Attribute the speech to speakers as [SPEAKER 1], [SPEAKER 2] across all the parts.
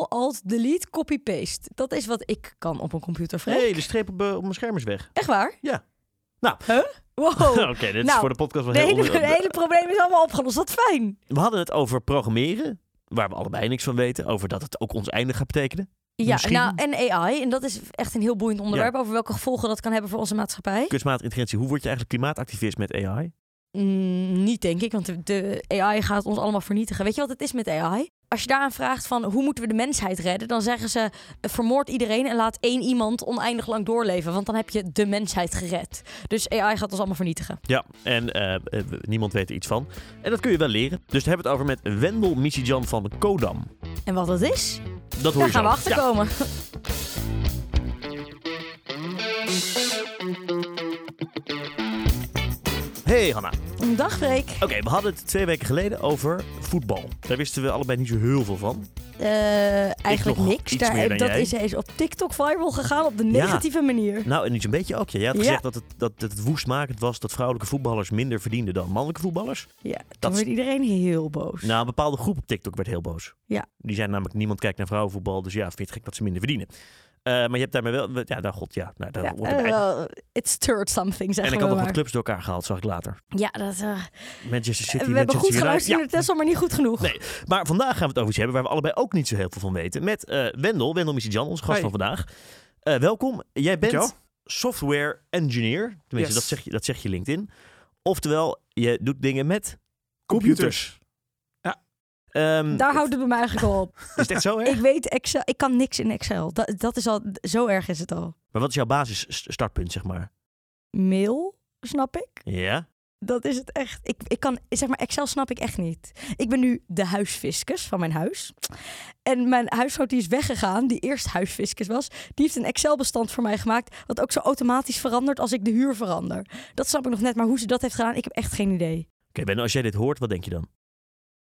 [SPEAKER 1] Ctrl-Alt-Delete, copy-paste. Dat is wat ik kan op een computer, Frank.
[SPEAKER 2] Nee, de streep op, eh, op mijn scherm is weg.
[SPEAKER 1] Echt waar?
[SPEAKER 2] Ja. Nou.
[SPEAKER 1] Huh?
[SPEAKER 2] Oké,
[SPEAKER 1] Wow.
[SPEAKER 2] dit is
[SPEAKER 1] Nou,
[SPEAKER 2] voor de podcast wel
[SPEAKER 1] De
[SPEAKER 2] heel eh,
[SPEAKER 1] hele,
[SPEAKER 2] onder-
[SPEAKER 1] de hele probleem is allemaal opgelost. Wat fijn.
[SPEAKER 2] We hadden het over programmeren, waar we allebei niks van weten. Over dat het ook ons einde gaat betekenen.
[SPEAKER 1] Ja,
[SPEAKER 2] Misschien-
[SPEAKER 1] nou, en AI. En dat is echt een heel boeiend onderwerp over welke gevolgen dat kan hebben voor onze maatschappij.
[SPEAKER 2] Kunstmatige intelligentie, hoe word je eigenlijk klimaatactivist met AI?
[SPEAKER 1] Mm, niet, denk ik, want de, de AI gaat ons allemaal vernietigen. Weet je wat het is met AI? Als je daaraan vraagt van hoe moeten we de mensheid redden, dan zeggen ze eh, vermoord iedereen en laat één iemand oneindig lang doorleven, want dan heb je de mensheid gered. Dus AI gaat ons allemaal vernietigen.
[SPEAKER 2] Ja, en eh, eh, niemand weet er iets van. En dat kun je wel lleren. Dus daar hebben we het over met Wendel Michijan van Kodam.
[SPEAKER 1] En wat dat is,
[SPEAKER 2] Dat hoor
[SPEAKER 1] daar
[SPEAKER 2] je
[SPEAKER 1] gaan we
[SPEAKER 2] zo.
[SPEAKER 1] achter
[SPEAKER 2] Ja.
[SPEAKER 1] komen.
[SPEAKER 2] Hey Hanna.
[SPEAKER 1] Dag Freek.
[SPEAKER 2] Oké, we hadden het twee weken geleden over voetbal. Daar wisten we allebei niet zo heel veel van.
[SPEAKER 1] Eh, eigenlijk
[SPEAKER 2] nog
[SPEAKER 1] niks.
[SPEAKER 2] iets meer dan
[SPEAKER 1] dat
[SPEAKER 2] jij.
[SPEAKER 1] is eens op TikTok viral gegaan op de
[SPEAKER 2] Ja.
[SPEAKER 1] negatieve manier.
[SPEAKER 2] Nou, en niet zo'n beetje ook. Ja. Jij had
[SPEAKER 1] Ja.
[SPEAKER 2] gezegd dat het, dat, dat het woestmakend was dat vrouwelijke voetballers minder verdienden dan mannelijke voetballers.
[SPEAKER 1] Ja, toen
[SPEAKER 2] Dat is-
[SPEAKER 1] werd iedereen heel boos.
[SPEAKER 2] Nou, een bepaalde groep op TikTok werd heel boos.
[SPEAKER 1] Ja.
[SPEAKER 2] Die zijn namelijk, niemand kijkt naar vrouwenvoetbal, dus ja, vind je het gek dat ze minder verdienen. Eh, maar je hebt daarmee wel, ja, nou god, ja, nou, daar
[SPEAKER 1] ja,
[SPEAKER 2] hoort het bij.
[SPEAKER 1] eh, wel, it stirred something,
[SPEAKER 2] en
[SPEAKER 1] zeggen
[SPEAKER 2] ik
[SPEAKER 1] we
[SPEAKER 2] had nog
[SPEAKER 1] maar.
[SPEAKER 2] wat clubs door elkaar gehaald, zag ik later.
[SPEAKER 1] Ja, dat, eh,
[SPEAKER 2] Manchester City,
[SPEAKER 1] we hebben
[SPEAKER 2] Manchester
[SPEAKER 1] goed
[SPEAKER 2] United.
[SPEAKER 1] geluisterd
[SPEAKER 2] Ja.
[SPEAKER 1] naar Tessel, maar niet goed genoeg.
[SPEAKER 2] Nee, maar vandaag gaan we het over iets hebben waar we allebei ook niet zo heel veel van weten. Met eh, Wendel, Wendel Misijan, onze gast
[SPEAKER 3] Hi.
[SPEAKER 2] van vandaag. Eh, welkom. Jij
[SPEAKER 3] Dankjewel.
[SPEAKER 2] bent software engineer. Tenminste,
[SPEAKER 3] Yes.
[SPEAKER 2] dat, zeg je, dat zeg je LinkedIn. Oftewel, je doet dingen met
[SPEAKER 3] Computers.
[SPEAKER 2] Ja.
[SPEAKER 3] Ja.
[SPEAKER 1] Daar houdt het bij mij eigenlijk al op.
[SPEAKER 2] Is het echt zo hè?
[SPEAKER 1] ik weet Excel, ik kan niks in Excel. Dat, dat is al, zo erg is het al.
[SPEAKER 2] Maar wat is jouw basis st- startpunt, zeg maar?
[SPEAKER 1] Mail, snap ik.
[SPEAKER 2] Ja?
[SPEAKER 1] Dat is het echt. Ik, ik kan, zeg maar, Excel snap ik echt niet. Ik ben nu de huisfiscus van mijn huis. En mijn huishoud die is weggegaan, die eerst huisfiscus was, die heeft een Excel-bestand voor mij gemaakt, wat ook zo automatisch verandert als ik de huur verander. Dat snap ik nog net, maar hoe ze dat heeft gedaan, ik heb echt geen idee.
[SPEAKER 2] Oké, Ben, als jij dit hoort, wat denk je dan?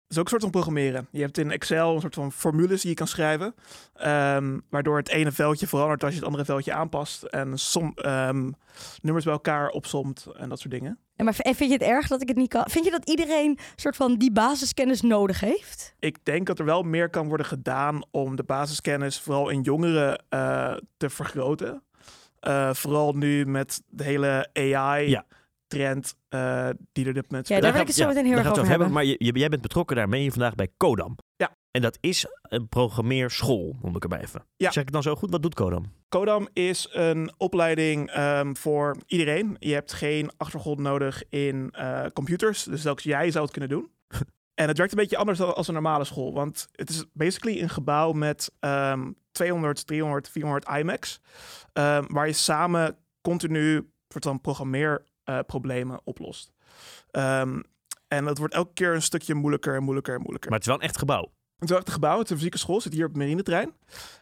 [SPEAKER 3] Dat is ook een soort van programmeren. Je hebt in Excel een soort van formules die je kan schrijven. ehm, waardoor het ene veldje verandert als je het andere veldje aanpast. En som, ehm, nummers bij elkaar opsomt en dat soort dingen.
[SPEAKER 1] En maar v- en vind je het erg dat ik het niet kan? Vind je dat iedereen soort van die basiskennis nodig heeft?
[SPEAKER 3] Ik denk dat er wel meer kan worden gedaan om de basiskennis vooral in jongeren eh, te vergroten. Eh, vooral nu met de hele
[SPEAKER 2] Ja.
[SPEAKER 3] AI-trend eh, die er dit moment
[SPEAKER 1] Ja, daar
[SPEAKER 3] speelt.
[SPEAKER 1] wil
[SPEAKER 2] gaan
[SPEAKER 1] ik het zo
[SPEAKER 2] we-
[SPEAKER 1] meteen heel
[SPEAKER 2] daar
[SPEAKER 1] erg
[SPEAKER 2] gaan we
[SPEAKER 1] over
[SPEAKER 2] het
[SPEAKER 1] hebben.
[SPEAKER 2] Maar je, je- jij bent betrokken daarmee hier vandaag bij Kodam.
[SPEAKER 3] Ja.
[SPEAKER 2] En dat is een programmeerschool, noem ik hem even.
[SPEAKER 3] Ja.
[SPEAKER 2] Zeg ik het dan zo goed? Wat doet Kodam?
[SPEAKER 3] Kodam is een opleiding ehm, voor iedereen. Je hebt geen achtergrond nodig in eh, computers, dus zelfs jij zou het kunnen doen. en het werkt een beetje anders dan als een normale school, want het is basically een gebouw met ehm, 200, 300, 400 iMacs, ehm, waar je samen continu soort van programmeerproblemen oplost. Ehm, en dat wordt elke keer een stukje moeilijker en moeilijker en moeilijker.
[SPEAKER 2] Maar het is wel een echt gebouw.
[SPEAKER 3] Het is echt een gebouw, het is een fysieke school, zit hier op Marineterrein.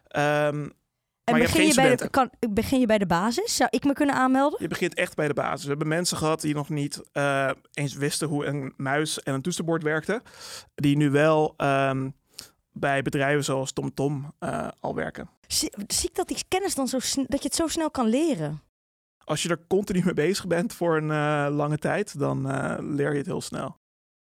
[SPEAKER 3] Ehm
[SPEAKER 1] En
[SPEAKER 3] maar je hebt
[SPEAKER 1] begin,
[SPEAKER 3] geen
[SPEAKER 1] je bij de,
[SPEAKER 3] studenten.
[SPEAKER 1] kan, begin je bij de basis? Zou ik me kunnen aanmelden?
[SPEAKER 3] Je begint echt bij de basis. We hebben mensen gehad die nog niet eh, eens wisten hoe een muis en een toetsenbord werkten. Die nu wel ehm, bij bedrijven zoals TomTom eh, al werken.
[SPEAKER 1] Zie, zie ik dat die kennis dan zo sn- dat je het zo snel kan leren?
[SPEAKER 3] Als je er continu mee bezig bent voor een eh, lange tijd, dan eh, leer je het heel snel.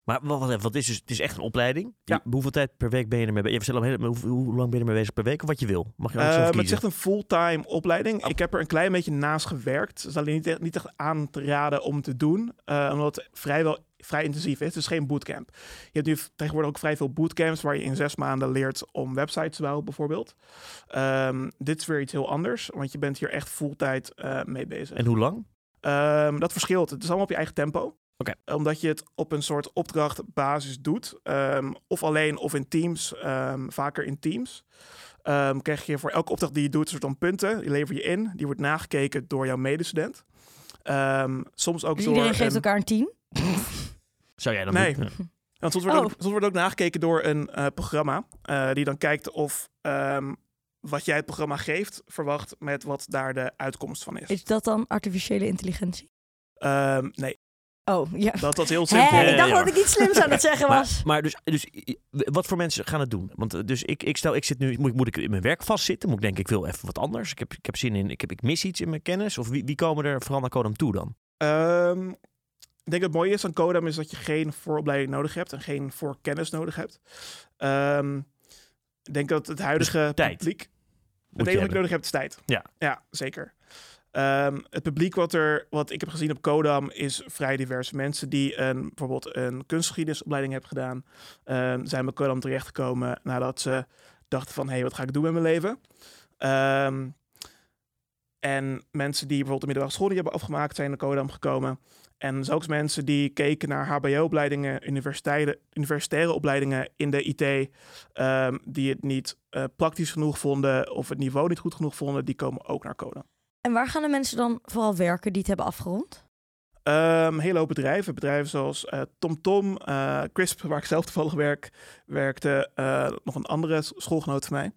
[SPEAKER 2] Maar wat, wat, wat is dus, het is echt een opleiding.
[SPEAKER 3] Ja.
[SPEAKER 2] Je- hoeveel tijd per week ben je ermee bezig? Je vertelt al heel- hoe, hoe lang ben je ermee bezig per week? Of wat je wil? Mag je
[SPEAKER 3] Eh,
[SPEAKER 2] nou zelf
[SPEAKER 3] maar het is
[SPEAKER 2] kiezen?
[SPEAKER 3] echt een fulltime opleiding.
[SPEAKER 2] Oh.
[SPEAKER 3] Ik heb er een klein beetje naast gewerkt. Het is alleen niet echt, niet echt aan te raden om te doen, eh, omdat het vrijwel vrij intensief is. Het is geen bootcamp. Je hebt nu v- tegenwoordig ook vrij veel bootcamps waar je in zes maanden leert om websites te bouwen, bijvoorbeeld. Ehm, dit is weer iets heel anders, want je bent hier echt fulltijd eh mee bezig.
[SPEAKER 2] En hoe lang?
[SPEAKER 3] Ehm, dat verschilt. Het is allemaal op je eigen tempo.
[SPEAKER 2] Oké.
[SPEAKER 3] Omdat je het op een soort opdrachtbasis doet. Ehm, of alleen of in teams. ehm, vaker in teams. Ehm, krijg je voor elke opdracht die je doet een soort van punten. Die lever je in. Die wordt nagekeken door jouw medestudent. Ehm, soms ook
[SPEAKER 1] Dus
[SPEAKER 3] door
[SPEAKER 1] iedereen geeft
[SPEAKER 3] een-
[SPEAKER 1] elkaar een tien?
[SPEAKER 2] Zou jij dan
[SPEAKER 3] Nee.
[SPEAKER 2] doen? Ja.
[SPEAKER 3] want soms wordt,
[SPEAKER 1] Oh.
[SPEAKER 3] ook, soms wordt ook nagekeken door een eh, programma. eh, die dan kijkt of ehm, wat jij het programma geeft... verwacht met wat daar de uitkomst van is.
[SPEAKER 1] Is dat dan artificiële intelligentie?
[SPEAKER 3] Ehm, nee,
[SPEAKER 1] Oh, ja.
[SPEAKER 3] dat, dat is heel simpel.
[SPEAKER 1] Hé, ik dacht
[SPEAKER 2] Ja,
[SPEAKER 1] dat ik iets slims aan het zeggen was.
[SPEAKER 2] Maar, maar dus, dus i- wat voor mensen gaan het doen? Want eh, dus ik, ik stel, ik zit nu, moet, moet ik in mijn werk vastzitten? Moet ik denken, ik wil even wat anders? Ik heb, ik heb zin in, ik, heb, ik mis iets in mijn kennis? Of wie, wie komen er vooral naar Kodam toe dan?
[SPEAKER 3] Ehm, ik denk dat het mooie is aan Kodam is dat je geen vooropleiding nodig hebt en geen voorkennis nodig hebt. Ehm, Ik denk dat het huidige
[SPEAKER 2] tijd.
[SPEAKER 3] publiek...
[SPEAKER 2] Moet je
[SPEAKER 3] Het enige wat ik
[SPEAKER 2] hebben.
[SPEAKER 3] nodig heb is tijd.
[SPEAKER 2] Ja.
[SPEAKER 3] Ja, zeker. Ehm, het publiek wat, er, wat ik heb gezien op Kodam is vrij divers. Mensen die een, bijvoorbeeld een kunstgeschiedenisopleiding hebben gedaan, ehm, zijn bij Kodam terechtgekomen nadat ze dachten van, hé, hey, wat ga ik doen met mijn leven? Ehm, en mensen die bijvoorbeeld de middelbare school niet hebben afgemaakt, zijn naar Kodam gekomen. En zelfs mensen die keken naar HBO-opleidingen, universiteiten, universitaire opleidingen in de IT, ehm, die het niet eh, praktisch genoeg vonden of het niveau niet goed genoeg vonden, die komen ook naar Kodam.
[SPEAKER 1] En waar gaan de mensen dan vooral werken die het hebben afgerond?
[SPEAKER 3] Ehm hele hoop bedrijven. Bedrijven zoals eh, TomTom, eh, Crisp, waar ik zelf toevallig werk, werkte eh, nog een andere s- schoolgenoot van mij.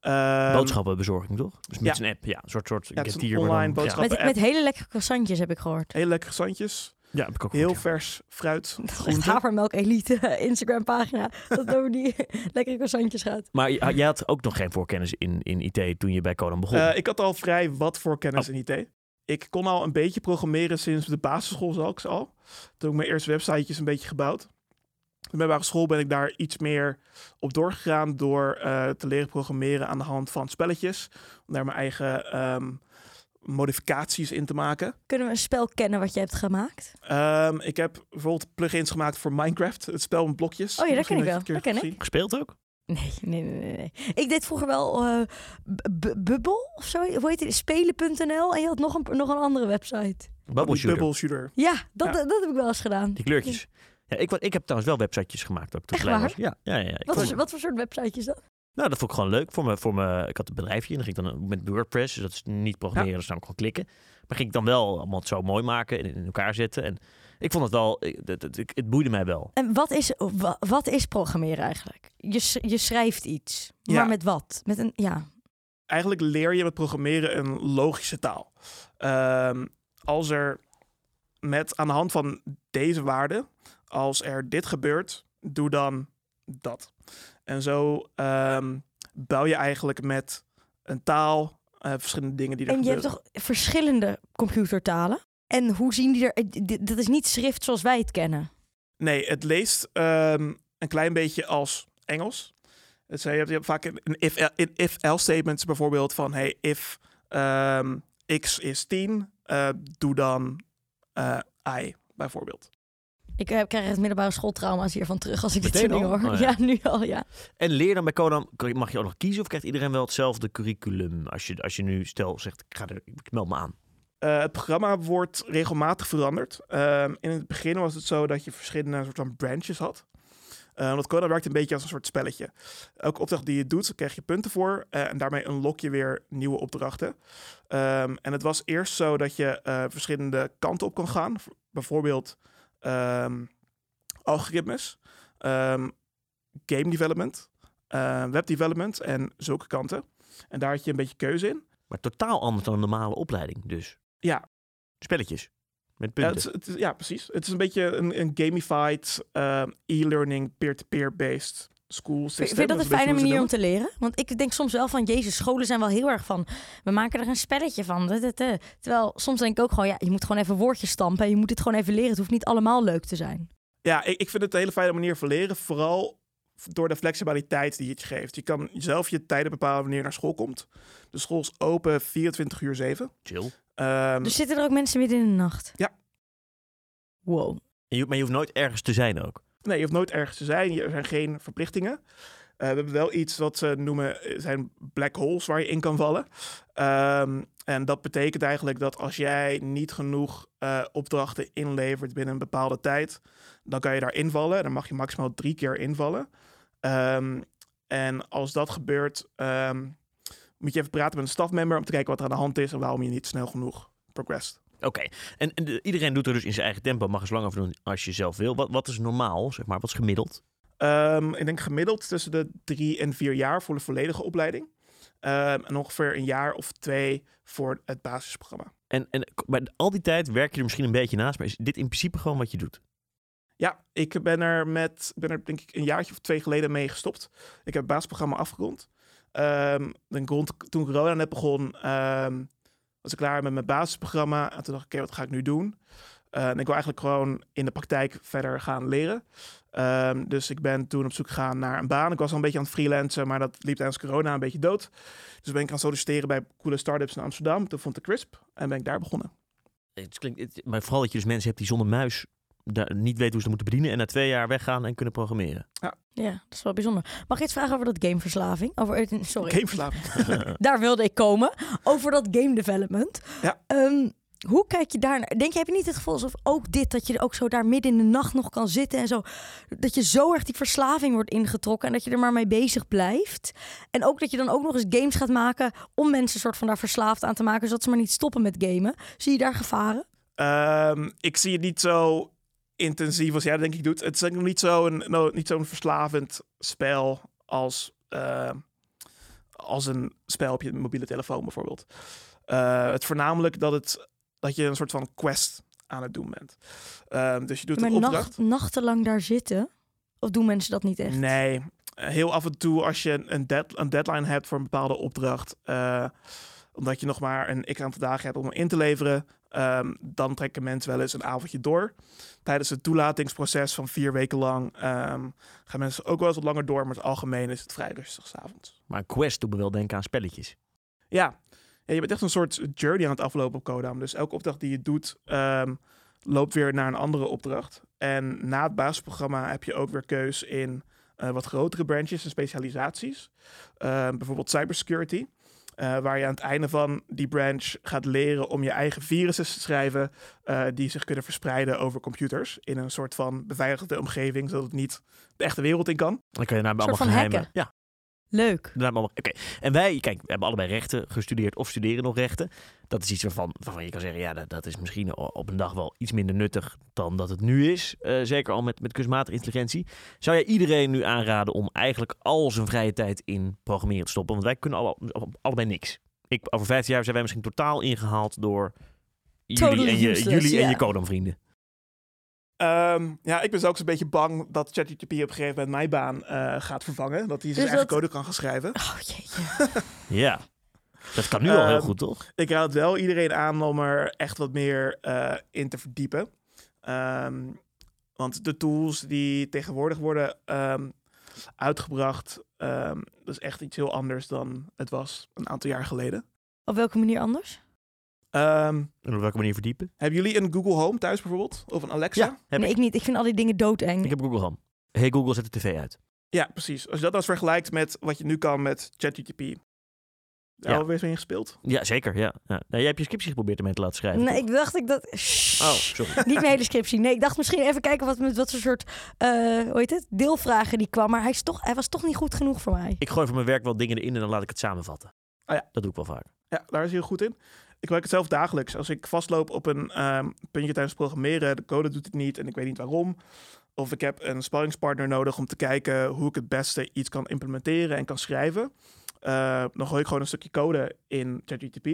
[SPEAKER 3] Ehm,
[SPEAKER 2] Boodschappenbezorging, toch? Dus met
[SPEAKER 3] ja.
[SPEAKER 2] een app, ja. Een soort, soort
[SPEAKER 3] het is een
[SPEAKER 2] Getir, maar
[SPEAKER 3] online
[SPEAKER 2] dan-
[SPEAKER 3] boodschap.
[SPEAKER 1] Met,
[SPEAKER 3] Grappig,
[SPEAKER 1] met hele lekkere croissantjes heb ik gehoord.
[SPEAKER 3] Hele lekkere zandjes,
[SPEAKER 2] Ja, ja heb ik ook
[SPEAKER 3] heel
[SPEAKER 2] gehoord, ja.
[SPEAKER 3] vers fruit.
[SPEAKER 1] Dat is echt
[SPEAKER 3] groente.
[SPEAKER 1] havermelk elite Instagram pagina. Dat het over die lekkere croissantjes gaat.
[SPEAKER 2] Maar j- jij had ook nog geen voorkennis in, in IT toen je bij Conan begon.
[SPEAKER 3] Eh, ik had al vrij wat voor kennis
[SPEAKER 2] Oh.
[SPEAKER 3] in IT. Ik kon al een beetje programmeren sinds de basisschool, zal ik ze al. Toen heb ik mijn eerste websitejes een beetje gebouwd. De middelbare school ben ik daar iets meer op doorgegaan door eh, te leren programmeren aan de hand van spelletjes. Om daar mijn eigen ehm, modificaties in te maken.
[SPEAKER 1] Kunnen we een spel kennen wat je hebt gemaakt?
[SPEAKER 3] Ehm, ik heb bijvoorbeeld plugins gemaakt voor Minecraft, het spel met blokjes.
[SPEAKER 1] Oh ja, dat
[SPEAKER 3] Misschien
[SPEAKER 1] ken ik
[SPEAKER 3] heb je het
[SPEAKER 1] wel.
[SPEAKER 3] een
[SPEAKER 1] Dat
[SPEAKER 3] keer
[SPEAKER 2] Gespeeld ook?
[SPEAKER 1] Nee, nee, nee, nee, nee. Ik deed vroeger wel eh, bu- bu- Bubble of zo. Hoe heet het? Spelen.nl. En je had nog een, nog een andere website.
[SPEAKER 2] Bubble
[SPEAKER 3] gezien.
[SPEAKER 2] shooter.
[SPEAKER 3] Bubble shooter.
[SPEAKER 1] Ja, dat,
[SPEAKER 3] Ja.
[SPEAKER 1] dat, heb ik wel eens gedaan.
[SPEAKER 2] Die kleurtjes. Ja, ik, wa- ik heb trouwens wel websitejes gemaakt ook toen
[SPEAKER 1] Echt
[SPEAKER 2] ik klein was. Ja, ja, ja. Ik
[SPEAKER 1] Wat,
[SPEAKER 2] vond-
[SPEAKER 1] voor- wat voor soort websitejes dan?
[SPEAKER 2] Nou, dat vond ik gewoon leuk. Voor me, voor me, ik had een bedrijfje en dan ging ik dan met WordPress. Dus dat is niet programmeren, dus dan gewoon klikken. Maar ging ik dan wel allemaal het zo mooi maken en in elkaar zetten. En ik vond het wel, ik- dat- dat- ik- het boeide mij wel.
[SPEAKER 1] En wat is, wa- wat is programmeren eigenlijk? Je, s- je schrijft iets. Maar
[SPEAKER 3] Ja.
[SPEAKER 1] met wat? Met een, ja.
[SPEAKER 3] eigenlijk leer je met programmeren een logische taal. Ehm, als er met aan de hand van deze waarde, als er dit gebeurt, doe dan dat. En zo ehm, bouw je eigenlijk met een taal eh, verschillende dingen die er
[SPEAKER 1] En je hebt
[SPEAKER 3] gebeuren.
[SPEAKER 1] toch verschillende computertalen? En hoe zien die er... eh, d- d- Dat is niet schrift zoals wij het kennen.
[SPEAKER 3] Nee, het leest ehm, een klein beetje als Engels. Dus, eh, je, hebt, je hebt vaak een een if, in if-else statements bijvoorbeeld van hey, if ehm, x is 10, eh, doe dan eh, i bijvoorbeeld.
[SPEAKER 1] Ik eh, krijg het middelbare schooltrauma's hiervan terug als ik dit
[SPEAKER 2] Meteen
[SPEAKER 1] soort
[SPEAKER 2] al?
[SPEAKER 1] dingen hoor.
[SPEAKER 2] Oh, ja.
[SPEAKER 1] ja. nu al, ja.
[SPEAKER 2] En leer dan bij Conan, mag je ook nog kiezen of krijgt iedereen wel hetzelfde curriculum? Als je, als je nu stel zegt, ik, ga er, ik meld me aan.
[SPEAKER 3] Eh, het programma wordt regelmatig veranderd. Ehm, in het begin was het zo dat je verschillende soort van branches had. Eh want Coda werkt een beetje als een soort spelletje. Elke opdracht die je doet, daar krijg je punten voor. eh, en daarmee unlock je weer nieuwe opdrachten. Ehm, en het was eerst zo dat je eh, verschillende kanten op kon gaan. V- Bijvoorbeeld ehm, algoritmes, ehm, game development, eh, web development en zulke kanten. En daar had je een beetje keuze in.
[SPEAKER 2] Maar totaal anders dan een normale opleiding dus.
[SPEAKER 3] Ja.
[SPEAKER 2] Spelletjes. Met
[SPEAKER 3] Ja,
[SPEAKER 2] punten.
[SPEAKER 3] het is, het is- ja, precies. Het is een beetje een, een gamified, eh, e-learning, peer-to-peer based school
[SPEAKER 1] Vind-
[SPEAKER 3] system.
[SPEAKER 1] Vind je dat
[SPEAKER 3] is
[SPEAKER 1] een
[SPEAKER 3] beetje
[SPEAKER 1] fijne
[SPEAKER 3] hoe ze
[SPEAKER 1] manier om
[SPEAKER 3] het
[SPEAKER 1] te leren? Want ik denk soms wel van, jezus, scholen zijn wel heel erg van, we maken er een spelletje van. Dat, dat, dat. Terwijl soms denk ik ook gewoon, ja, je moet gewoon even woordjes stampen. en Je moet het gewoon even leren. Het hoeft niet allemaal leuk te zijn.
[SPEAKER 3] noemen. Ja, ik, ik vind het een hele fijne manier van leren. Vooral door de flexibiliteit die het je geeft. Je kan zelf je tijden bepalen wanneer je naar school komt. De school is open 24 uur 7.
[SPEAKER 2] Chill.
[SPEAKER 3] Ehm,
[SPEAKER 1] Dus zitten er ook mensen midden in de nacht?
[SPEAKER 3] Ja.
[SPEAKER 1] Wow.
[SPEAKER 2] En je- maar je hoeft nooit ergens te zijn ook.
[SPEAKER 3] Nee, je hoeft nooit ergens te zijn. Je- Er zijn geen verplichtingen. Eh, we hebben wel iets wat ze noemen eh, zijn black holes waar je in kan vallen. Ehm, en dat betekent eigenlijk dat als jij niet genoeg eh, opdrachten inlevert binnen een bepaalde tijd, dan kan je daar invallen. Dan mag je maximaal drie keer invallen. Ehm, en als dat gebeurt, ehm, moet je even praten met een stafmember om te kijken wat er aan de hand is en waarom je niet snel genoeg progressed.
[SPEAKER 2] Oké, en, en de- iedereen doet er dus in zijn eigen tempo, mag er zo lang over doen als je zelf wil. Wat, wat is normaal, zeg maar, wat is gemiddeld?
[SPEAKER 3] Ehm, ik denk gemiddeld tussen de drie en vier jaar voor de volledige opleiding. Ehm, en ongeveer een jaar of twee voor het basisprogramma.
[SPEAKER 2] En, en k- bij al die tijd werk je er misschien een beetje naast, maar is dit in principe gewoon wat je doet?
[SPEAKER 3] Ja, ik ben er, met, ben er denk ik een jaartje of twee geleden mee gestopt. Ik heb het basisprogramma afgerond. Ehm, dan rond, toen corona net begon, ehm, was ik klaar met mijn basisprogramma. En toen dacht ik, oké, wat ga ik nu doen? Eh, en ik wil eigenlijk gewoon in de praktijk verder gaan leren. Ehm, dus ik ben toen op zoek gegaan naar een baan. Ik was al een beetje aan het freelancen, maar dat liep tijdens corona een beetje dood. Dus ben ik gaan solliciteren bij coole startups in Amsterdam. Toen vond ik Crisp en ben ik daar begonnen.
[SPEAKER 2] Het klinkt, het- maar vooral dat je dus mensen hebt die zonder muis daar niet weten hoe ze het moeten bedienen en na twee jaar weggaan en kunnen programmeren.
[SPEAKER 1] Ja, dat is wel bijzonder. Mag ik iets vragen over dat gameverslaving? Over, eh, sorry,
[SPEAKER 3] Gameverslaving.
[SPEAKER 1] daar wilde ik komen. Over dat game development.
[SPEAKER 3] Ja.
[SPEAKER 1] Ehm, hoe kijk je daarnaar? Denk je, heb je niet het gevoel alsof ook dit, dat je er ook zo daar midden in de nacht nog kan zitten en zo. Dat je zo erg die verslaving wordt ingetrokken en dat je er maar mee bezig blijft. En ook dat je dan ook nog eens games gaat maken om mensen soort van daar verslaafd aan te maken, zodat ze maar niet stoppen met gamen. Zie je daar gevaren?
[SPEAKER 3] Ehm, ik zie het niet zo intensief als jij dat denk ik doet. Het is denk ik niet zo'n no, niet zo'n verslavend spel als, eh, als een spel op je mobiele telefoon bijvoorbeeld. Eh, het voornamelijk dat, het, dat je een soort van quest aan het doen bent. Ehm, dus je doet
[SPEAKER 1] Maar
[SPEAKER 3] een opdracht.
[SPEAKER 1] nacht, nachtenlang daar zitten? Of doen mensen dat niet echt?
[SPEAKER 3] Nee, Eh, heel af en toe als je een, dead- een deadline hebt voor een bepaalde opdracht, eh, omdat je nog maar een x aantal dagen hebt om hem in te leveren, ehm, dan trekken mensen wel eens een avondje door. Tijdens het toelatingsproces van vier weken lang ehm, gaan mensen ook wel eens wat langer door, maar in het algemeen is het vrij rustig s'avonds.
[SPEAKER 2] Maar een quest doet me wel denken aan spelletjes.
[SPEAKER 3] Ja. ja, je bent echt een soort journey aan het aflopen op Kodam. Dus elke opdracht die je doet, ehm, loopt weer naar een andere opdracht. En na het basisprogramma heb je ook weer keus in eh, wat grotere branches en specialisaties. Eh, bijvoorbeeld cybersecurity. eh, waar je aan het einde van die branch gaat leren om je eigen virussen te schrijven. eh, die zich kunnen verspreiden over computers. In een soort van beveiligde omgeving, zodat het niet de echte wereld in kan.
[SPEAKER 2] Dan kan je daar
[SPEAKER 1] Een
[SPEAKER 2] allemaal
[SPEAKER 1] soort van
[SPEAKER 2] geheimen.
[SPEAKER 1] hacken.
[SPEAKER 2] Ja,
[SPEAKER 1] Leuk.
[SPEAKER 2] Daarom allemaal- Oké, en wij, kijk, we hebben allebei rechten gestudeerd of studeren nog rechten. Dat is iets waarvan, waarvan je kan zeggen, ja, dat, dat is misschien o- op een dag wel iets minder nuttig dan dat het nu is. Eh, zeker al met, met kunstmatige intelligentie. Zou jij iedereen nu aanraden om eigenlijk al zijn vrije tijd in programmeren te stoppen? Want wij kunnen alle, allebei niks. Ik, over 15 jaar zijn wij misschien totaal ingehaald door jullie,
[SPEAKER 1] Totally
[SPEAKER 2] en je,
[SPEAKER 1] useless,
[SPEAKER 2] jullie en
[SPEAKER 1] ja.
[SPEAKER 2] je Codam-vrienden.
[SPEAKER 3] Ehm, ja, ik ben zelfs een beetje bang dat ChatGPT op een gegeven moment mijn baan eh, gaat vervangen. Dat hij zijn
[SPEAKER 1] Dus
[SPEAKER 3] eigen
[SPEAKER 1] dat-
[SPEAKER 3] code kan gaan schrijven.
[SPEAKER 1] Oh jeetje.
[SPEAKER 2] Ja, dat kan nu al heel
[SPEAKER 3] Ehm,
[SPEAKER 2] goed, toch?
[SPEAKER 3] Ik raad wel iedereen aan om er echt wat meer eh, in te verdiepen. Ehm, want de tools die tegenwoordig worden ehm, uitgebracht, ehm, dat is echt iets heel anders dan het was een aantal jaar geleden.
[SPEAKER 1] Op welke manier anders?
[SPEAKER 3] Ehm,
[SPEAKER 2] En op welke manier verdiepen?
[SPEAKER 3] hebben jullie een Google Home thuis bijvoorbeeld? Of een Alexa?
[SPEAKER 2] Ja, heb
[SPEAKER 1] nee,
[SPEAKER 2] ik.
[SPEAKER 1] ik niet. Ik vind al die dingen doodeng.
[SPEAKER 2] Ik heb Google Home. Hey Google, zet de tv uit.
[SPEAKER 3] Ja, precies. Als je dat als vergelijkt met wat je nu kan met ChatGPT. Daar
[SPEAKER 2] Ja.
[SPEAKER 3] alweer eens mee gespeeld.
[SPEAKER 2] Ja, zeker. Ja. Ja. Nou, jij hebt je scriptie geprobeerd ermee te laten schrijven.
[SPEAKER 1] Nee,
[SPEAKER 2] toch?
[SPEAKER 1] ik dacht ik dat... Shh.
[SPEAKER 2] Oh, sorry.
[SPEAKER 1] Niet mijn hele scriptie. Nee, ik dacht misschien even kijken wat, met wat voor soort eh, hoe heet het? deelvragen die kwam. Maar hij, is toch, hij was toch niet goed genoeg voor mij.
[SPEAKER 2] Ik gooi voor mijn werk wel dingen erin en dan laat ik het samenvatten.
[SPEAKER 1] Oh
[SPEAKER 3] Ah ja.
[SPEAKER 2] Dat doe ik wel vaak.
[SPEAKER 3] Ja, daar is hij heel goed in. Ik gebruik het zelf dagelijks. Als ik vastloop op een ehm, puntje tijdens programmeren, de code doet het niet en ik weet niet waarom. Of ik heb een sparringspartner nodig om te kijken hoe ik het beste iets kan implementeren en kan schrijven. Eh, dan gooi ik gewoon een stukje code in ChatGTP.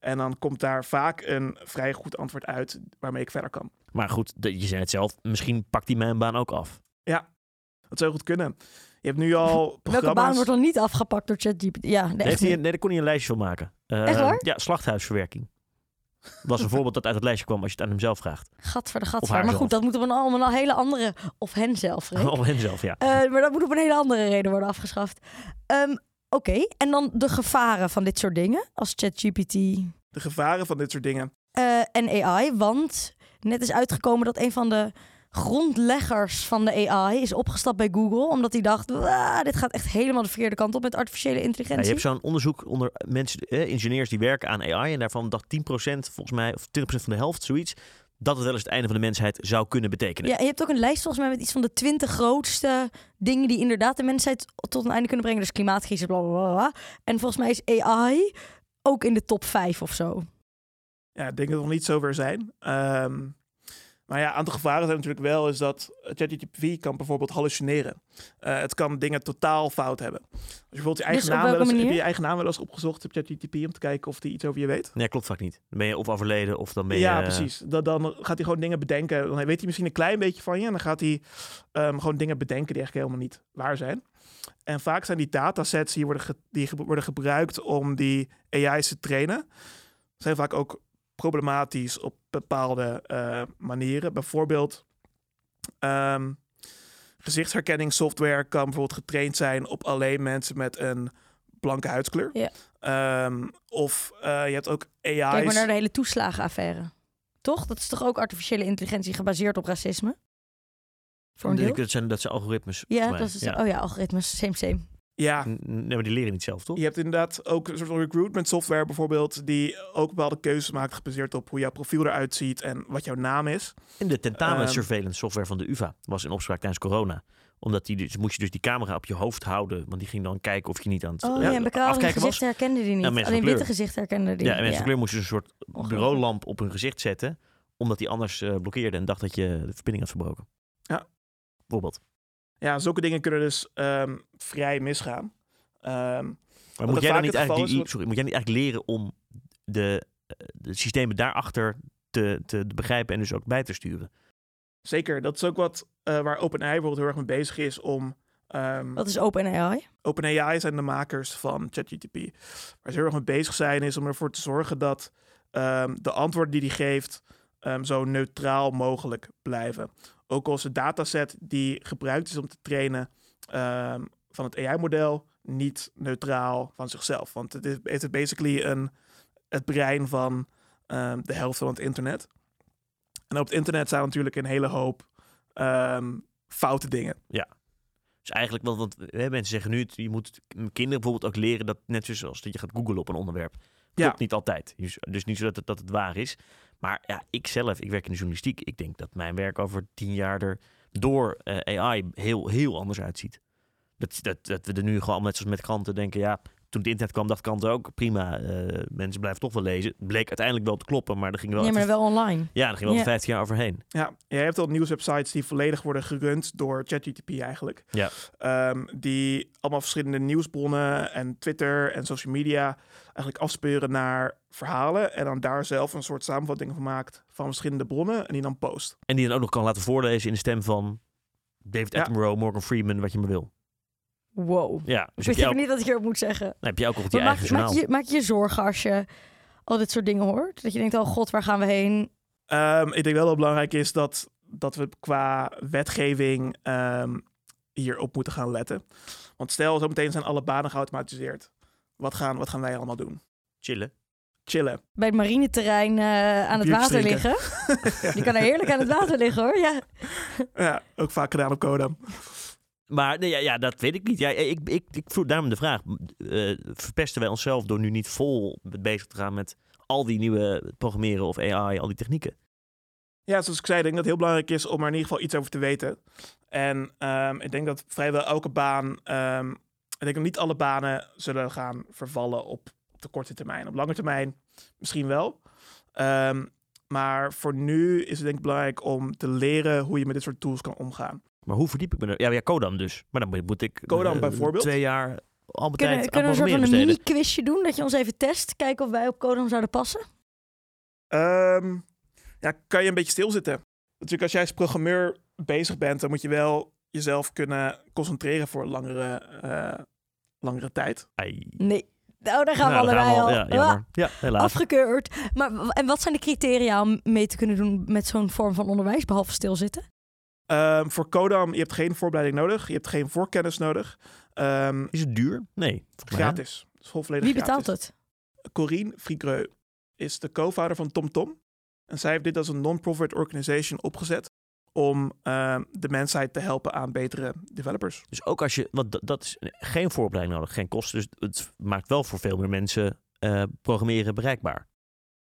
[SPEAKER 3] En dan komt daar vaak een vrij goed antwoord uit waarmee ik verder kan.
[SPEAKER 2] Maar goed, de- je zei het zelf. Misschien pakt hij mijn baan ook af.
[SPEAKER 3] Dat zou goed kunnen. Je hebt nu al
[SPEAKER 1] Welke baan
[SPEAKER 3] programma's.
[SPEAKER 1] wordt dan niet afgepakt door ChatGPT? Ja, nee,
[SPEAKER 2] Nee,
[SPEAKER 1] echt
[SPEAKER 2] nee,
[SPEAKER 1] niet.
[SPEAKER 2] nee, daar kon hij een lijstje van maken. Eh,
[SPEAKER 1] Echt waar?
[SPEAKER 2] Ja, slachthuisverwerking. Was een voorbeeld dat uit het lijstje kwam als je het aan hemzelf vraagt.
[SPEAKER 1] Gadver de
[SPEAKER 2] Of
[SPEAKER 1] gadver.
[SPEAKER 2] haar
[SPEAKER 1] Maar goed,
[SPEAKER 2] zelf. Oh,
[SPEAKER 1] dat moet op een, om een hele andere... Of hen zelf, Freek.
[SPEAKER 2] Om hemzelf, ja.
[SPEAKER 1] Eh, maar dat moet op een hele andere reden worden afgeschaft. Ehm, Oké, en dan de gevaren van dit soort dingen. Als ChatGPT
[SPEAKER 3] De gevaren van dit soort dingen.
[SPEAKER 1] eh, en AI. Want net is uitgekomen dat een van de grondleggers van de AI is opgestapt bij Google. Omdat hij dacht, "Waa, dit gaat echt helemaal de verkeerde kant op met artificiële
[SPEAKER 2] Ja, je
[SPEAKER 1] intelligentie.
[SPEAKER 2] hebt zo'n onderzoek onder mensen, eh, ingenieurs die werken aan AI. En daarvan dacht 10% volgens mij, of 20% van de helft, zoiets. Dat het wel eens het einde van de mensheid zou kunnen betekenen.
[SPEAKER 1] Ja, en je hebt ook een lijst volgens mij met iets van de twintig grootste dingen die inderdaad de mensheid tot een einde kunnen brengen. Dus klimaatcrisis, bla bla bla. bla. En volgens mij is AI ook in de top vijf of zo.
[SPEAKER 3] Ja, ik denk dat we nog niet zover zijn. Ehm, maar ja, een aantal gevaren zijn natuurlijk wel is dat ChatGPT kan bijvoorbeeld hallucineren. Eh, het kan dingen totaal fout hebben. Als je bijvoorbeeld je eigen,
[SPEAKER 1] Dus op
[SPEAKER 3] naam, wel
[SPEAKER 1] welke
[SPEAKER 3] eens, heb
[SPEAKER 1] manier?
[SPEAKER 3] je je eigen naam wel eens opgezocht op ChatGPT om te kijken of die iets over je weet.
[SPEAKER 2] Nee, klopt vaak niet. Dan ben je of overleden of dan ben je... eh,
[SPEAKER 3] ja, precies. Dat, dan gaat hij gewoon dingen bedenken. Dan weet hij misschien een klein beetje van je. En dan gaat hij ehm, gewoon dingen bedenken die eigenlijk helemaal niet waar zijn. En vaak zijn die datasets die worden, ge- die ge- worden gebruikt om die AI's te trainen. zijn vaak ook problematisch op bepaalde eh, manieren. Bijvoorbeeld, ehm, gezichtsherkenningssoftware kan bijvoorbeeld getraind zijn op alleen mensen met een blanke huidskleur.
[SPEAKER 1] Ja.
[SPEAKER 3] Ehm, of eh, je hebt ook
[SPEAKER 1] Kijk maar
[SPEAKER 3] AI's.
[SPEAKER 1] naar de hele toeslagenaffaire. Toch? Dat is toch ook artificiële intelligentie gebaseerd op racisme? Voor een deel?
[SPEAKER 2] Dat zijn, dat zijn algoritmes.
[SPEAKER 1] Ja,
[SPEAKER 2] volgens mij.
[SPEAKER 1] dat is, oh ja, algoritmes, same, same.
[SPEAKER 3] Ja,
[SPEAKER 2] N- Nee, maar die leren niet zelf, toch?
[SPEAKER 3] Je hebt inderdaad ook een soort van recruitment software bijvoorbeeld, die ook bepaalde keuzes maakt gebaseerd op hoe jouw profiel eruit ziet en wat jouw naam is.
[SPEAKER 2] En de tentamen
[SPEAKER 3] Ehm.
[SPEAKER 2] surveillance software van de UvA was in opspraak tijdens corona. Omdat die dus, moest je dus die camera op je hoofd houden. Want die ging dan kijken of je niet aan het
[SPEAKER 1] Oh
[SPEAKER 2] eh,
[SPEAKER 1] ja, en bepaalde
[SPEAKER 2] afkijken was.
[SPEAKER 1] gezichten herkenden die niet.
[SPEAKER 2] Ja, mensen van
[SPEAKER 1] Alleen witte
[SPEAKER 2] kleur.
[SPEAKER 1] gezichten herkenden die.
[SPEAKER 2] Ja, en mensen van kleur moesten dus een soort
[SPEAKER 1] Ongelooflijk.
[SPEAKER 2] bureaulamp op hun gezicht zetten. Omdat die anders eh, blokkeerde en dacht dat je de verbinding had verbroken.
[SPEAKER 3] Ja.
[SPEAKER 2] Bijvoorbeeld.
[SPEAKER 3] Ja, zulke dingen kunnen dus ehm, vrij misgaan. Ehm,
[SPEAKER 2] Maar
[SPEAKER 3] Wat
[SPEAKER 2] moet
[SPEAKER 3] het
[SPEAKER 2] jij, dan
[SPEAKER 3] vaak
[SPEAKER 2] niet
[SPEAKER 3] het geval
[SPEAKER 2] eigenlijk die,
[SPEAKER 3] is, wat-
[SPEAKER 2] sorry, moet jij niet eigenlijk leren om de, eh, de systemen daarachter te, te, te begrijpen en dus ook bij te sturen?
[SPEAKER 3] zeker, dat is ook wat eh, waar OpenAI bijvoorbeeld heel erg mee bezig is om... ehm,
[SPEAKER 1] Dat is open AI.
[SPEAKER 3] OpenAI zijn de makers van ChatGTP. Waar ze heel erg mee bezig zijn, is om ervoor te zorgen dat ehm, de antwoorden die die geeft ehm, zo neutraal mogelijk blijven. Ook als de dataset die gebruikt is om te trainen ehm, van het AI-model niet neutraal van zichzelf. Want het is, het is basically een, het brein van ehm, de helft van het internet. En op het internet staan natuurlijk een hele hoop ehm, foute dingen.
[SPEAKER 2] Dus eigenlijk, want, want hè, mensen zeggen nu, het- je moet kinderen bijvoorbeeld ook leren dat net zoals dat je gaat googlen op een onderwerp.
[SPEAKER 3] Ja.
[SPEAKER 2] Klopt niet altijd. Dus, dus niet zo dat het, dat het waar is. Maar ja, ik zelf, ik werk in de journalistiek. Ik denk dat mijn werk over tien jaar er door eh, AI heel, heel anders uitziet. Dat, dat, dat we er nu gewoon net zoals met kranten denken, ja, toen het internet kwam, dat kranten ook prima. eh, mensen blijven toch wel lezen. Bleek uiteindelijk wel te kloppen, maar er ging wel,
[SPEAKER 1] Ja, maar
[SPEAKER 2] even-
[SPEAKER 1] wel online.
[SPEAKER 2] ja, er ging wel
[SPEAKER 1] Ja.
[SPEAKER 2] 15 jaar overheen.
[SPEAKER 3] Ja, je hebt al nieuwswebsites die volledig worden gerund door ChatGTP eigenlijk.
[SPEAKER 2] Ja.
[SPEAKER 3] Ehm, die allemaal verschillende nieuwsbronnen en Twitter en social media eigenlijk afspeuren naar verhalen. En dan daar zelf een soort samenvatting van maakt van verschillende bronnen en die dan post.
[SPEAKER 2] En die dan ook nog kan laten voorlezen in de stem van David
[SPEAKER 3] Ja.
[SPEAKER 2] Attenborough, Morgan Freeman, wat je maar wil.
[SPEAKER 1] Wow.
[SPEAKER 2] Ja,
[SPEAKER 1] ik
[SPEAKER 2] dus heb
[SPEAKER 1] weet
[SPEAKER 2] je
[SPEAKER 1] ook
[SPEAKER 2] ook,
[SPEAKER 1] niet dat ik hierop moet zeggen.
[SPEAKER 2] heb je ook nog die
[SPEAKER 1] Maar maak,
[SPEAKER 2] eigen
[SPEAKER 1] je- maak,
[SPEAKER 2] journaal.
[SPEAKER 1] je, maak je zorgen als je al dit soort dingen hoort? Dat je denkt, oh god, waar gaan we heen?
[SPEAKER 3] Ehm, ik denk wel dat het belangrijk is dat, dat we qua wetgeving ehm, hierop moeten gaan letten. Want stel, zometeen zijn alle banen geautomatiseerd. Wat gaan, wat gaan wij allemaal doen?
[SPEAKER 2] Chillen.
[SPEAKER 3] Chillen.
[SPEAKER 1] Bij het marineterrein eh, aan het
[SPEAKER 3] Biertjes
[SPEAKER 1] water
[SPEAKER 3] drinken.
[SPEAKER 1] liggen. Je kan er heerlijk aan het water liggen hoor. Ja.
[SPEAKER 3] Ja, ook vaak gedaan op Kodam.
[SPEAKER 2] Maar nee, ja, ja, dat weet ik niet. Ja, ik, ik, ik vroeg daarom de vraag. eh, verpesten wij onszelf door nu niet vol bezig te gaan met al die nieuwe programmeren of AI, al die technieken?
[SPEAKER 3] Ja, zoals ik zei, ik denk dat het heel belangrijk is om er in ieder geval iets over te weten. En ehm, ik denk dat vrijwel elke baan, ehm, ik denk dat niet alle banen zullen gaan vervallen op de korte termijn. Op lange termijn misschien wel. Ehm, maar voor nu is het denk ik belangrijk om te leren hoe je met dit soort tools kan omgaan.
[SPEAKER 2] Maar hoe verdiep ik me er? Ja, ja Kodam dus. Maar dan moet- moet ik
[SPEAKER 3] Kodam
[SPEAKER 2] eh,
[SPEAKER 3] bijvoorbeeld?
[SPEAKER 2] twee jaar al
[SPEAKER 1] Kunnen,
[SPEAKER 2] mijn tijd aan
[SPEAKER 1] kunnen we een soort
[SPEAKER 2] programmeren
[SPEAKER 1] van een
[SPEAKER 2] besteden.
[SPEAKER 1] mini-quizje doen? Dat je ons even test. Kijken of wij op Kodam zouden passen.
[SPEAKER 3] Ehm, ja, kan je een beetje stilzitten? Natuurlijk, als jij als programmeur bezig bent, dan moet je wel jezelf kunnen concentreren voor een langere, eh, langere tijd.
[SPEAKER 2] Ai.
[SPEAKER 1] Nee. Nou, daar gaan
[SPEAKER 2] Nou,
[SPEAKER 1] we
[SPEAKER 2] daar
[SPEAKER 1] allebei
[SPEAKER 2] gaan
[SPEAKER 1] al. Ah,
[SPEAKER 2] we al- Ja, jammer. ja, helaas.
[SPEAKER 1] Afgekeurd. Maar w- en wat zijn de criteria om mee te kunnen doen met zo'n vorm van onderwijs, behalve stilzitten?
[SPEAKER 3] Ehm, voor Kodam, je hebt geen voorbereiding nodig. Je hebt geen voorkennis nodig. Ehm,
[SPEAKER 2] Is het duur? Nee. volgens mij.
[SPEAKER 3] gratis. Het is gewoon volledig
[SPEAKER 1] Wie betaalt
[SPEAKER 3] gratis.
[SPEAKER 1] het?
[SPEAKER 3] Corine Frigreux is de co-founder van TomTom. En zij heeft dit als een non-profit organization opgezet om ehm, de mensheid te helpen aan betere developers.
[SPEAKER 2] Dus ook als je, want dat, dat is geen voorbereiding nodig, geen kosten. Dus het maakt wel voor veel meer mensen eh, programmeren bereikbaar.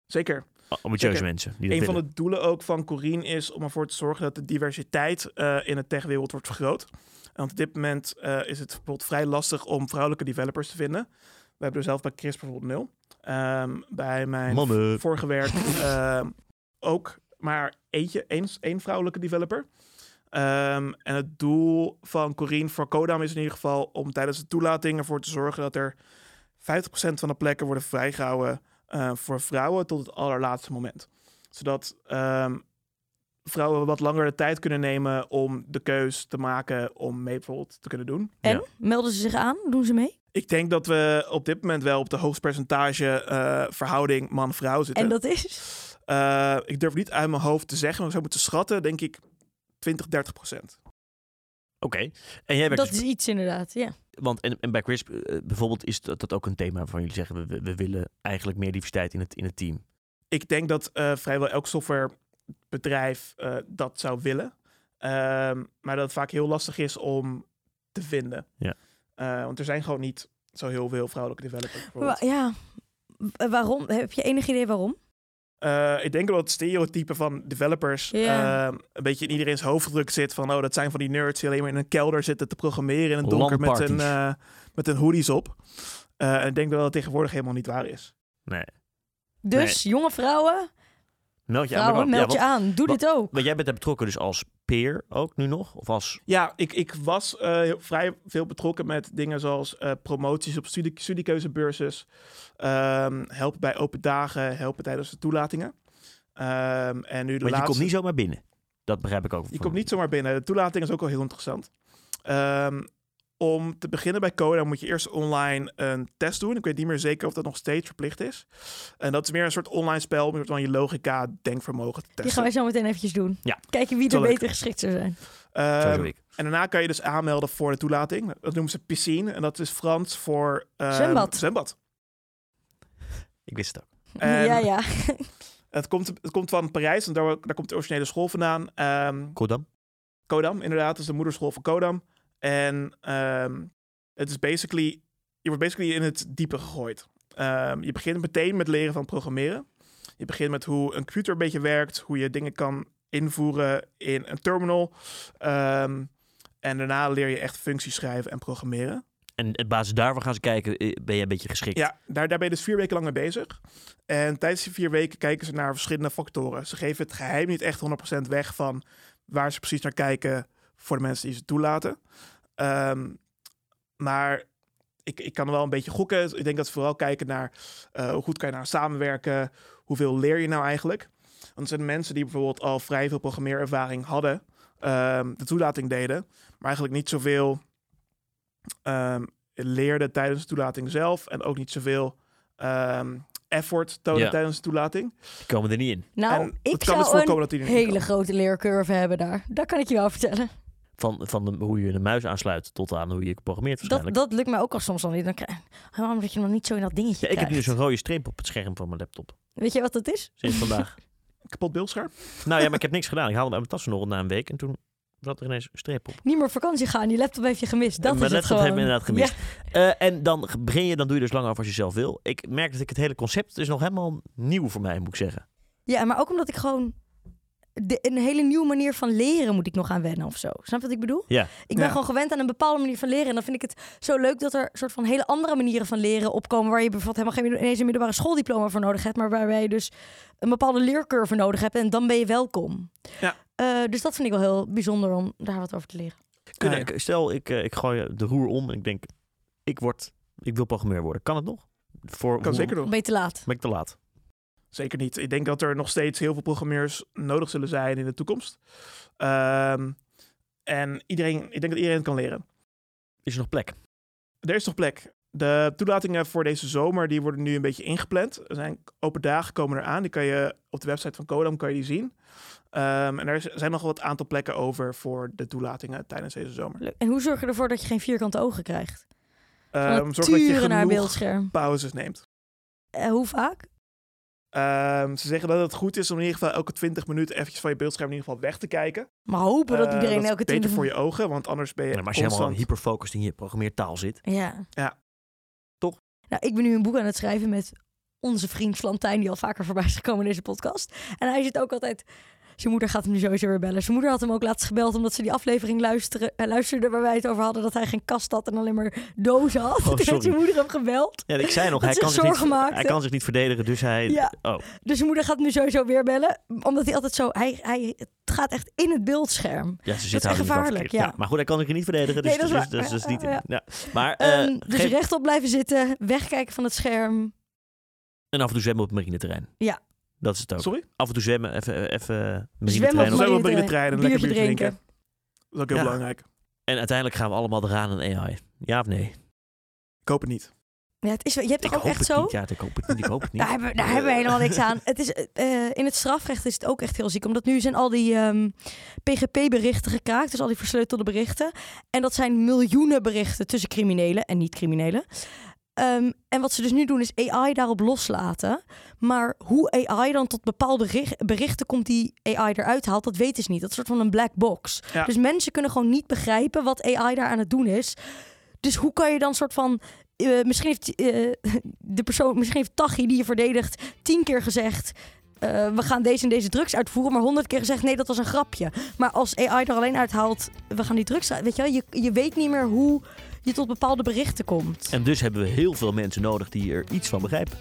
[SPEAKER 3] Zeker.
[SPEAKER 2] Ambitieuze
[SPEAKER 3] Zeker.
[SPEAKER 2] mensen. Die dat
[SPEAKER 3] Een van
[SPEAKER 2] willen.
[SPEAKER 3] de doelen ook van Corine is om ervoor te zorgen dat de diversiteit eh, in de techwereld wordt vergroot. Want op dit moment eh, is het bijvoorbeeld vrij lastig om vrouwelijke developers te vinden. We hebben er zelf bij Chris bijvoorbeeld nul. Ehm, bij mijn
[SPEAKER 2] Mannen.
[SPEAKER 3] vorige werk ehm, ook maar eentje, één, één vrouwelijke developer. Ehm, en het doel van Corine voor Kodam is in ieder geval om tijdens de toelating ervoor te zorgen dat er 50% van de plekken worden vrijgehouden eh, voor vrouwen tot het allerlaatste moment. Zodat ehm, vrouwen wat langer de tijd kunnen nemen om de keus te maken om mee bijvoorbeeld te kunnen doen.
[SPEAKER 1] En
[SPEAKER 2] Ja.
[SPEAKER 1] melden ze zich aan? Doen ze mee?
[SPEAKER 3] Ik denk dat we op dit moment wel op de hoogst percentage eh, verhouding man-vrouw zitten.
[SPEAKER 1] En dat is?
[SPEAKER 3] Eh, ik durf niet uit mijn hoofd te zeggen, maar ik zou moeten schatten, denk ik 20, 30 procent.
[SPEAKER 2] Oké. En jij werkt
[SPEAKER 1] Dat
[SPEAKER 2] dus-
[SPEAKER 1] is iets inderdaad, ja.
[SPEAKER 2] want en, en bij Crisp eh, bijvoorbeeld is dat, dat ook een thema waarvan jullie zeggen we- we, we willen eigenlijk meer diversiteit in het, in het team.
[SPEAKER 3] Ik denk dat eh, vrijwel elk softwarebedrijf eh, dat zou willen. Ehm, maar dat het vaak heel lastig is om te vinden.
[SPEAKER 2] Ja.
[SPEAKER 3] Eh, want er zijn gewoon niet zo heel veel vrouwelijke developers. bijvoorbeeld.
[SPEAKER 1] Wa- ja. Eh, Waarom? Heb je enig idee waarom?
[SPEAKER 3] Eh, ik denk dat het stereotype van developers
[SPEAKER 1] Ja.
[SPEAKER 3] eh, een beetje in iedereen's hoofd gedrukt zit. Van, oh, dat zijn van die nerds die alleen maar in een kelder zitten te programmeren in het donker met een, eh, met een hoodies op. Eh, en ik denk dat dat tegenwoordig helemaal niet waar is.
[SPEAKER 1] Dus jonge vrouwen,
[SPEAKER 2] Meld je aan.
[SPEAKER 1] vrouwen,
[SPEAKER 2] bij Bram. Ja,
[SPEAKER 1] Nou, meld je
[SPEAKER 2] want-
[SPEAKER 1] aan. Doe
[SPEAKER 2] want-
[SPEAKER 1] dit ook.
[SPEAKER 2] Maar jij bent daar betrokken dus als peer ook nu nog? Of als...
[SPEAKER 3] Ja, ik, ik was eh, heel- vrij veel betrokken met dingen zoals eh, promoties op studie, studiekeuzebeurses, ehm, helpen bij open dagen, helpen tijdens de toelatingen. Ehm, en nu de
[SPEAKER 2] Want je
[SPEAKER 3] laatste...
[SPEAKER 2] komt niet zomaar binnen. Dat begrijp ik ook.
[SPEAKER 3] Je komt niet zomaar binnen. De toelating is ook al heel interessant. Ehm, om te beginnen bij Coda moet je eerst online een test doen. Ik weet niet meer zeker of dat nog steeds verplicht is. En dat is meer een soort online spel om van je logica, denkvermogen te
[SPEAKER 1] Die gaan
[SPEAKER 3] testen.
[SPEAKER 1] wij zo meteen eventjes doen.
[SPEAKER 2] Ja.
[SPEAKER 1] Kijken wie er
[SPEAKER 3] Zal ik-
[SPEAKER 1] beter geschikt zou zijn.
[SPEAKER 2] Zo
[SPEAKER 3] Ehm,
[SPEAKER 2] doe ik.
[SPEAKER 3] en daarna kan je dus aanmelden voor de toelating. Dat noemen ze piscine. En dat is Frans voor... ehm,
[SPEAKER 1] Zwembad.
[SPEAKER 3] Zwembad.
[SPEAKER 2] Ik wist het ook.
[SPEAKER 3] En-
[SPEAKER 1] ja, ja.
[SPEAKER 3] Het komt, het komt van Parijs, en daar, daar komt de originele school vandaan. Ehm,
[SPEAKER 2] Kodam?
[SPEAKER 3] Kodam, inderdaad. Dat is de moederschool van Kodam. En ehm, het is basically... Je wordt basically in het diepe gegooid. Ehm, je begint meteen met leren van programmeren. Je begint met hoe een computer een beetje werkt. Hoe je dingen kan invoeren in een terminal. Ehm, en daarna leer je echt functies schrijven en programmeren.
[SPEAKER 2] En op basis daarvan gaan ze kijken, eh, ben jij een beetje geschikt?
[SPEAKER 3] Ja, daar, daar ben je dus vier weken lang mee bezig. En tijdens die vier weken kijken ze naar verschillende factoren. Ze geven het geheim niet echt 100% weg van waar ze precies naar kijken voor de mensen die ze toelaten. Ehm, maar ik, ik kan wel een beetje gokken. Ik denk dat ze vooral kijken naar eh, hoe goed kan je nou samenwerken, hoeveel leer je nou eigenlijk. Want er zijn mensen die bijvoorbeeld al vrij veel programmeerervaring hadden, ehm, de toelating deden, maar eigenlijk niet zoveel ehm, leerden tijdens de toelating zelf en ook niet zoveel ehm, effort tonen
[SPEAKER 2] Ja.
[SPEAKER 3] tijdens de toelating.
[SPEAKER 2] Die komen er niet in.
[SPEAKER 1] Nou,
[SPEAKER 3] en
[SPEAKER 1] ik
[SPEAKER 3] het kan dus
[SPEAKER 1] zou
[SPEAKER 3] voorkomen
[SPEAKER 1] een
[SPEAKER 3] dat die er niet
[SPEAKER 1] hele
[SPEAKER 3] komen.
[SPEAKER 1] grote leercurve hebben daar. Dat kan ik je wel vertellen.
[SPEAKER 2] Van, van de- hoe je een muis aansluit tot aan hoe je programmeert waarschijnlijk.
[SPEAKER 1] Dat, dat lukt mij ook al soms al niet. Dan krijg... Oh, omdat je dan niet zo in dat dingetje
[SPEAKER 2] Ja, ik heb nu
[SPEAKER 1] krijgt.
[SPEAKER 2] zo'n rode streep op het scherm van mijn laptop.
[SPEAKER 1] Weet je wat dat is?
[SPEAKER 2] Sinds vandaag.
[SPEAKER 3] kapot beeldscherm.
[SPEAKER 2] nou ja, maar ik heb niks gedaan. Ik haalde hem uit mijn tas nog na een week en toen zat er ineens een streep op.
[SPEAKER 1] Niet meer op vakantie gaan. Die laptop heeft je gemist. Dat
[SPEAKER 2] En
[SPEAKER 1] is het
[SPEAKER 2] mijn laptop
[SPEAKER 1] gewoon.
[SPEAKER 2] heeft me inderdaad gemist. Eh, en dan ge- begin je, dan doe je dus lang over als je zelf wil. Ik merk dat ik het hele concept is nog helemaal nieuw voor mij, moet ik zeggen.
[SPEAKER 1] Ja, maar ook omdat ik gewoon... de- een hele nieuwe manier van leren moet ik nog aan wennen of zo. Snap je wat ik bedoel?
[SPEAKER 2] Ja.
[SPEAKER 1] Ik ben
[SPEAKER 3] Ja.
[SPEAKER 1] gewoon gewend aan een bepaalde manier van leren. En dan vind ik het zo leuk dat er soort van hele andere manieren van leren opkomen. Waar je bijvoorbeeld helemaal geen ineens een middelbare schooldiploma voor nodig hebt. Maar waarbij je dus een bepaalde leercurve nodig hebt. En dan ben je welkom.
[SPEAKER 3] Ja.
[SPEAKER 1] Eh, dus dat vind ik wel heel bijzonder om daar wat over te leren.
[SPEAKER 2] Kunnen,
[SPEAKER 3] Ah, ja.
[SPEAKER 2] ik- Stel, ik, eh, ik gooi de roer om en ik denk, ik, word, ik wil programmeur worden. Kan het nog? Voor,
[SPEAKER 3] Kan
[SPEAKER 2] hoe-
[SPEAKER 3] zeker nog.
[SPEAKER 1] Ben je te laat?
[SPEAKER 2] Ben ik te laat?
[SPEAKER 3] Zeker niet. Ik denk dat er nog steeds heel veel programmeurs nodig zullen zijn in de toekomst. Ehm, en iedereen, ik denk dat iedereen het kan leren.
[SPEAKER 2] Is er nog plek?
[SPEAKER 3] Er is nog plek. De toelatingen voor deze zomer die worden nu een beetje ingepland. Er zijn open dagen komen eraan. Die kan je op de website van Kodam kan je die zien. Ehm, en er is- zijn nog wat aantal plekken over voor de toelatingen tijdens deze zomer.
[SPEAKER 1] Leuk. En hoe zorg je ervoor dat je geen vierkante ogen krijgt? Van
[SPEAKER 3] Ehm,
[SPEAKER 1] het
[SPEAKER 3] zorg dat je
[SPEAKER 1] turen naar
[SPEAKER 3] genoeg
[SPEAKER 1] beeldscherm.
[SPEAKER 3] pauzes neemt.
[SPEAKER 1] Eh, hoe vaak?
[SPEAKER 3] Ehm, ze zeggen dat het goed is om in ieder geval elke 20 minuten eventjes van je beeldscherm in ieder geval weg te kijken.
[SPEAKER 1] Maar hopen dat
[SPEAKER 3] Eh,
[SPEAKER 1] iedereen
[SPEAKER 3] is
[SPEAKER 1] elke
[SPEAKER 3] beter
[SPEAKER 1] twintig...
[SPEAKER 3] voor je ogen, want anders ben je
[SPEAKER 2] Ja, maar als je
[SPEAKER 3] constant...
[SPEAKER 2] helemaal hyperfocust in je programmeertaal zit.
[SPEAKER 1] Ja.
[SPEAKER 3] Ja.
[SPEAKER 2] Toch?
[SPEAKER 1] Nou, ik ben nu een boek aan het schrijven met onze vriend Flantijn, die al vaker voorbij is gekomen in deze podcast. En hij zit ook altijd. Zijn moeder gaat hem nu sowieso weer bellen. Zijn moeder had hem ook laatst gebeld omdat ze die aflevering luisteren, eh, luisterde waar wij het over hadden dat hij geen kast had en alleen maar dozen had. Toen heeft
[SPEAKER 2] Oh, sorry.
[SPEAKER 1] zijn moeder hem gebeld.
[SPEAKER 2] Ja, ik zei
[SPEAKER 1] Dat
[SPEAKER 2] nog, hij
[SPEAKER 1] zich
[SPEAKER 2] kan, zich niet,
[SPEAKER 1] zorgen maakte.
[SPEAKER 2] hij kan zich niet verdedigen, dus hij...
[SPEAKER 1] Ja.
[SPEAKER 2] Oh,
[SPEAKER 1] Dus zijn moeder gaat hem nu sowieso weer bellen. Omdat hij altijd zo. Hij, hij, het gaat echt in het beeldscherm.
[SPEAKER 2] ja, ze zit
[SPEAKER 1] echt
[SPEAKER 2] houden niet van
[SPEAKER 1] gevaarlijk,
[SPEAKER 2] verkeerd.
[SPEAKER 1] ja.
[SPEAKER 2] Maar goed, hij kan zich niet verdedigen, dus
[SPEAKER 1] Nee, dat
[SPEAKER 2] dat
[SPEAKER 1] is
[SPEAKER 2] is,
[SPEAKER 1] waar.
[SPEAKER 2] dus, dus niet...
[SPEAKER 1] Ja, ja,
[SPEAKER 2] Ja. Maar eh,
[SPEAKER 1] Ehm, dus
[SPEAKER 2] geef-
[SPEAKER 1] rechtop blijven zitten, wegkijken van het scherm.
[SPEAKER 2] En af en toe zwemmen op het marineterrein.
[SPEAKER 1] Ja.
[SPEAKER 2] Dat is het ook.
[SPEAKER 3] Sorry?
[SPEAKER 2] Af en toe zwemmen, even, even
[SPEAKER 1] Zwemmen op
[SPEAKER 2] marineterrein op.
[SPEAKER 3] Zo
[SPEAKER 1] het
[SPEAKER 3] op de
[SPEAKER 1] marineterrein,
[SPEAKER 3] trein en lekker
[SPEAKER 1] biertje
[SPEAKER 3] biertje drinken.
[SPEAKER 1] drinken.
[SPEAKER 3] Dat is ook heel
[SPEAKER 2] Ja.
[SPEAKER 3] belangrijk.
[SPEAKER 2] En uiteindelijk gaan we allemaal eraan aan AI. Ja of nee?
[SPEAKER 3] Ik hoop het niet.
[SPEAKER 1] Ja, het is, wel- je hebt
[SPEAKER 2] Ik
[SPEAKER 1] toch ook
[SPEAKER 2] hoop
[SPEAKER 1] echt
[SPEAKER 2] het
[SPEAKER 1] zo?
[SPEAKER 2] niet. Ja, ik hoop het niet. Ik hoop het niet.
[SPEAKER 1] Daar hebben, daar hebben we helemaal niks aan. Het is, eh, eh, in het strafrecht is het ook echt heel ziek. Omdat nu zijn al die ehm, PGP-berichten gekraakt. Dus al die versleutelde berichten. En dat zijn miljoenen berichten tussen criminelen en niet-criminelen. Ehm, en wat ze dus nu doen is AI daarop loslaten. Maar hoe AI dan tot bepaalde rich- berichten komt die AI eruit haalt, dat weten ze niet. Dat is een soort van een black box.
[SPEAKER 3] Ja.
[SPEAKER 1] Dus mensen kunnen gewoon niet begrijpen wat AI daar aan het doen is. Dus hoe kan je dan soort van. eh, misschien heeft eh, de persoon, misschien heeft Tachi die je verdedigt, tien keer gezegd. eh, we gaan deze en deze drugs uitvoeren, maar honderd keer gezegd: nee, dat was een grapje. Maar als AI er alleen uithaalt, we gaan die drugs uit. Weet je, wel, je, je weet niet meer hoe je tot bepaalde berichten komt.
[SPEAKER 2] En dus hebben we heel veel mensen nodig die er iets van begrijpen.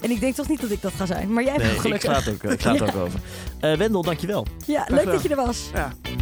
[SPEAKER 1] En ik denk toch niet dat ik dat ga zijn, maar jij bent
[SPEAKER 2] ik
[SPEAKER 1] gelukkig.
[SPEAKER 2] sla het ook, ik sla het ook over. Eh Wendel, dankjewel.
[SPEAKER 1] Ja, leuk
[SPEAKER 3] Dankjewel.
[SPEAKER 1] dat je er was.
[SPEAKER 3] Ja,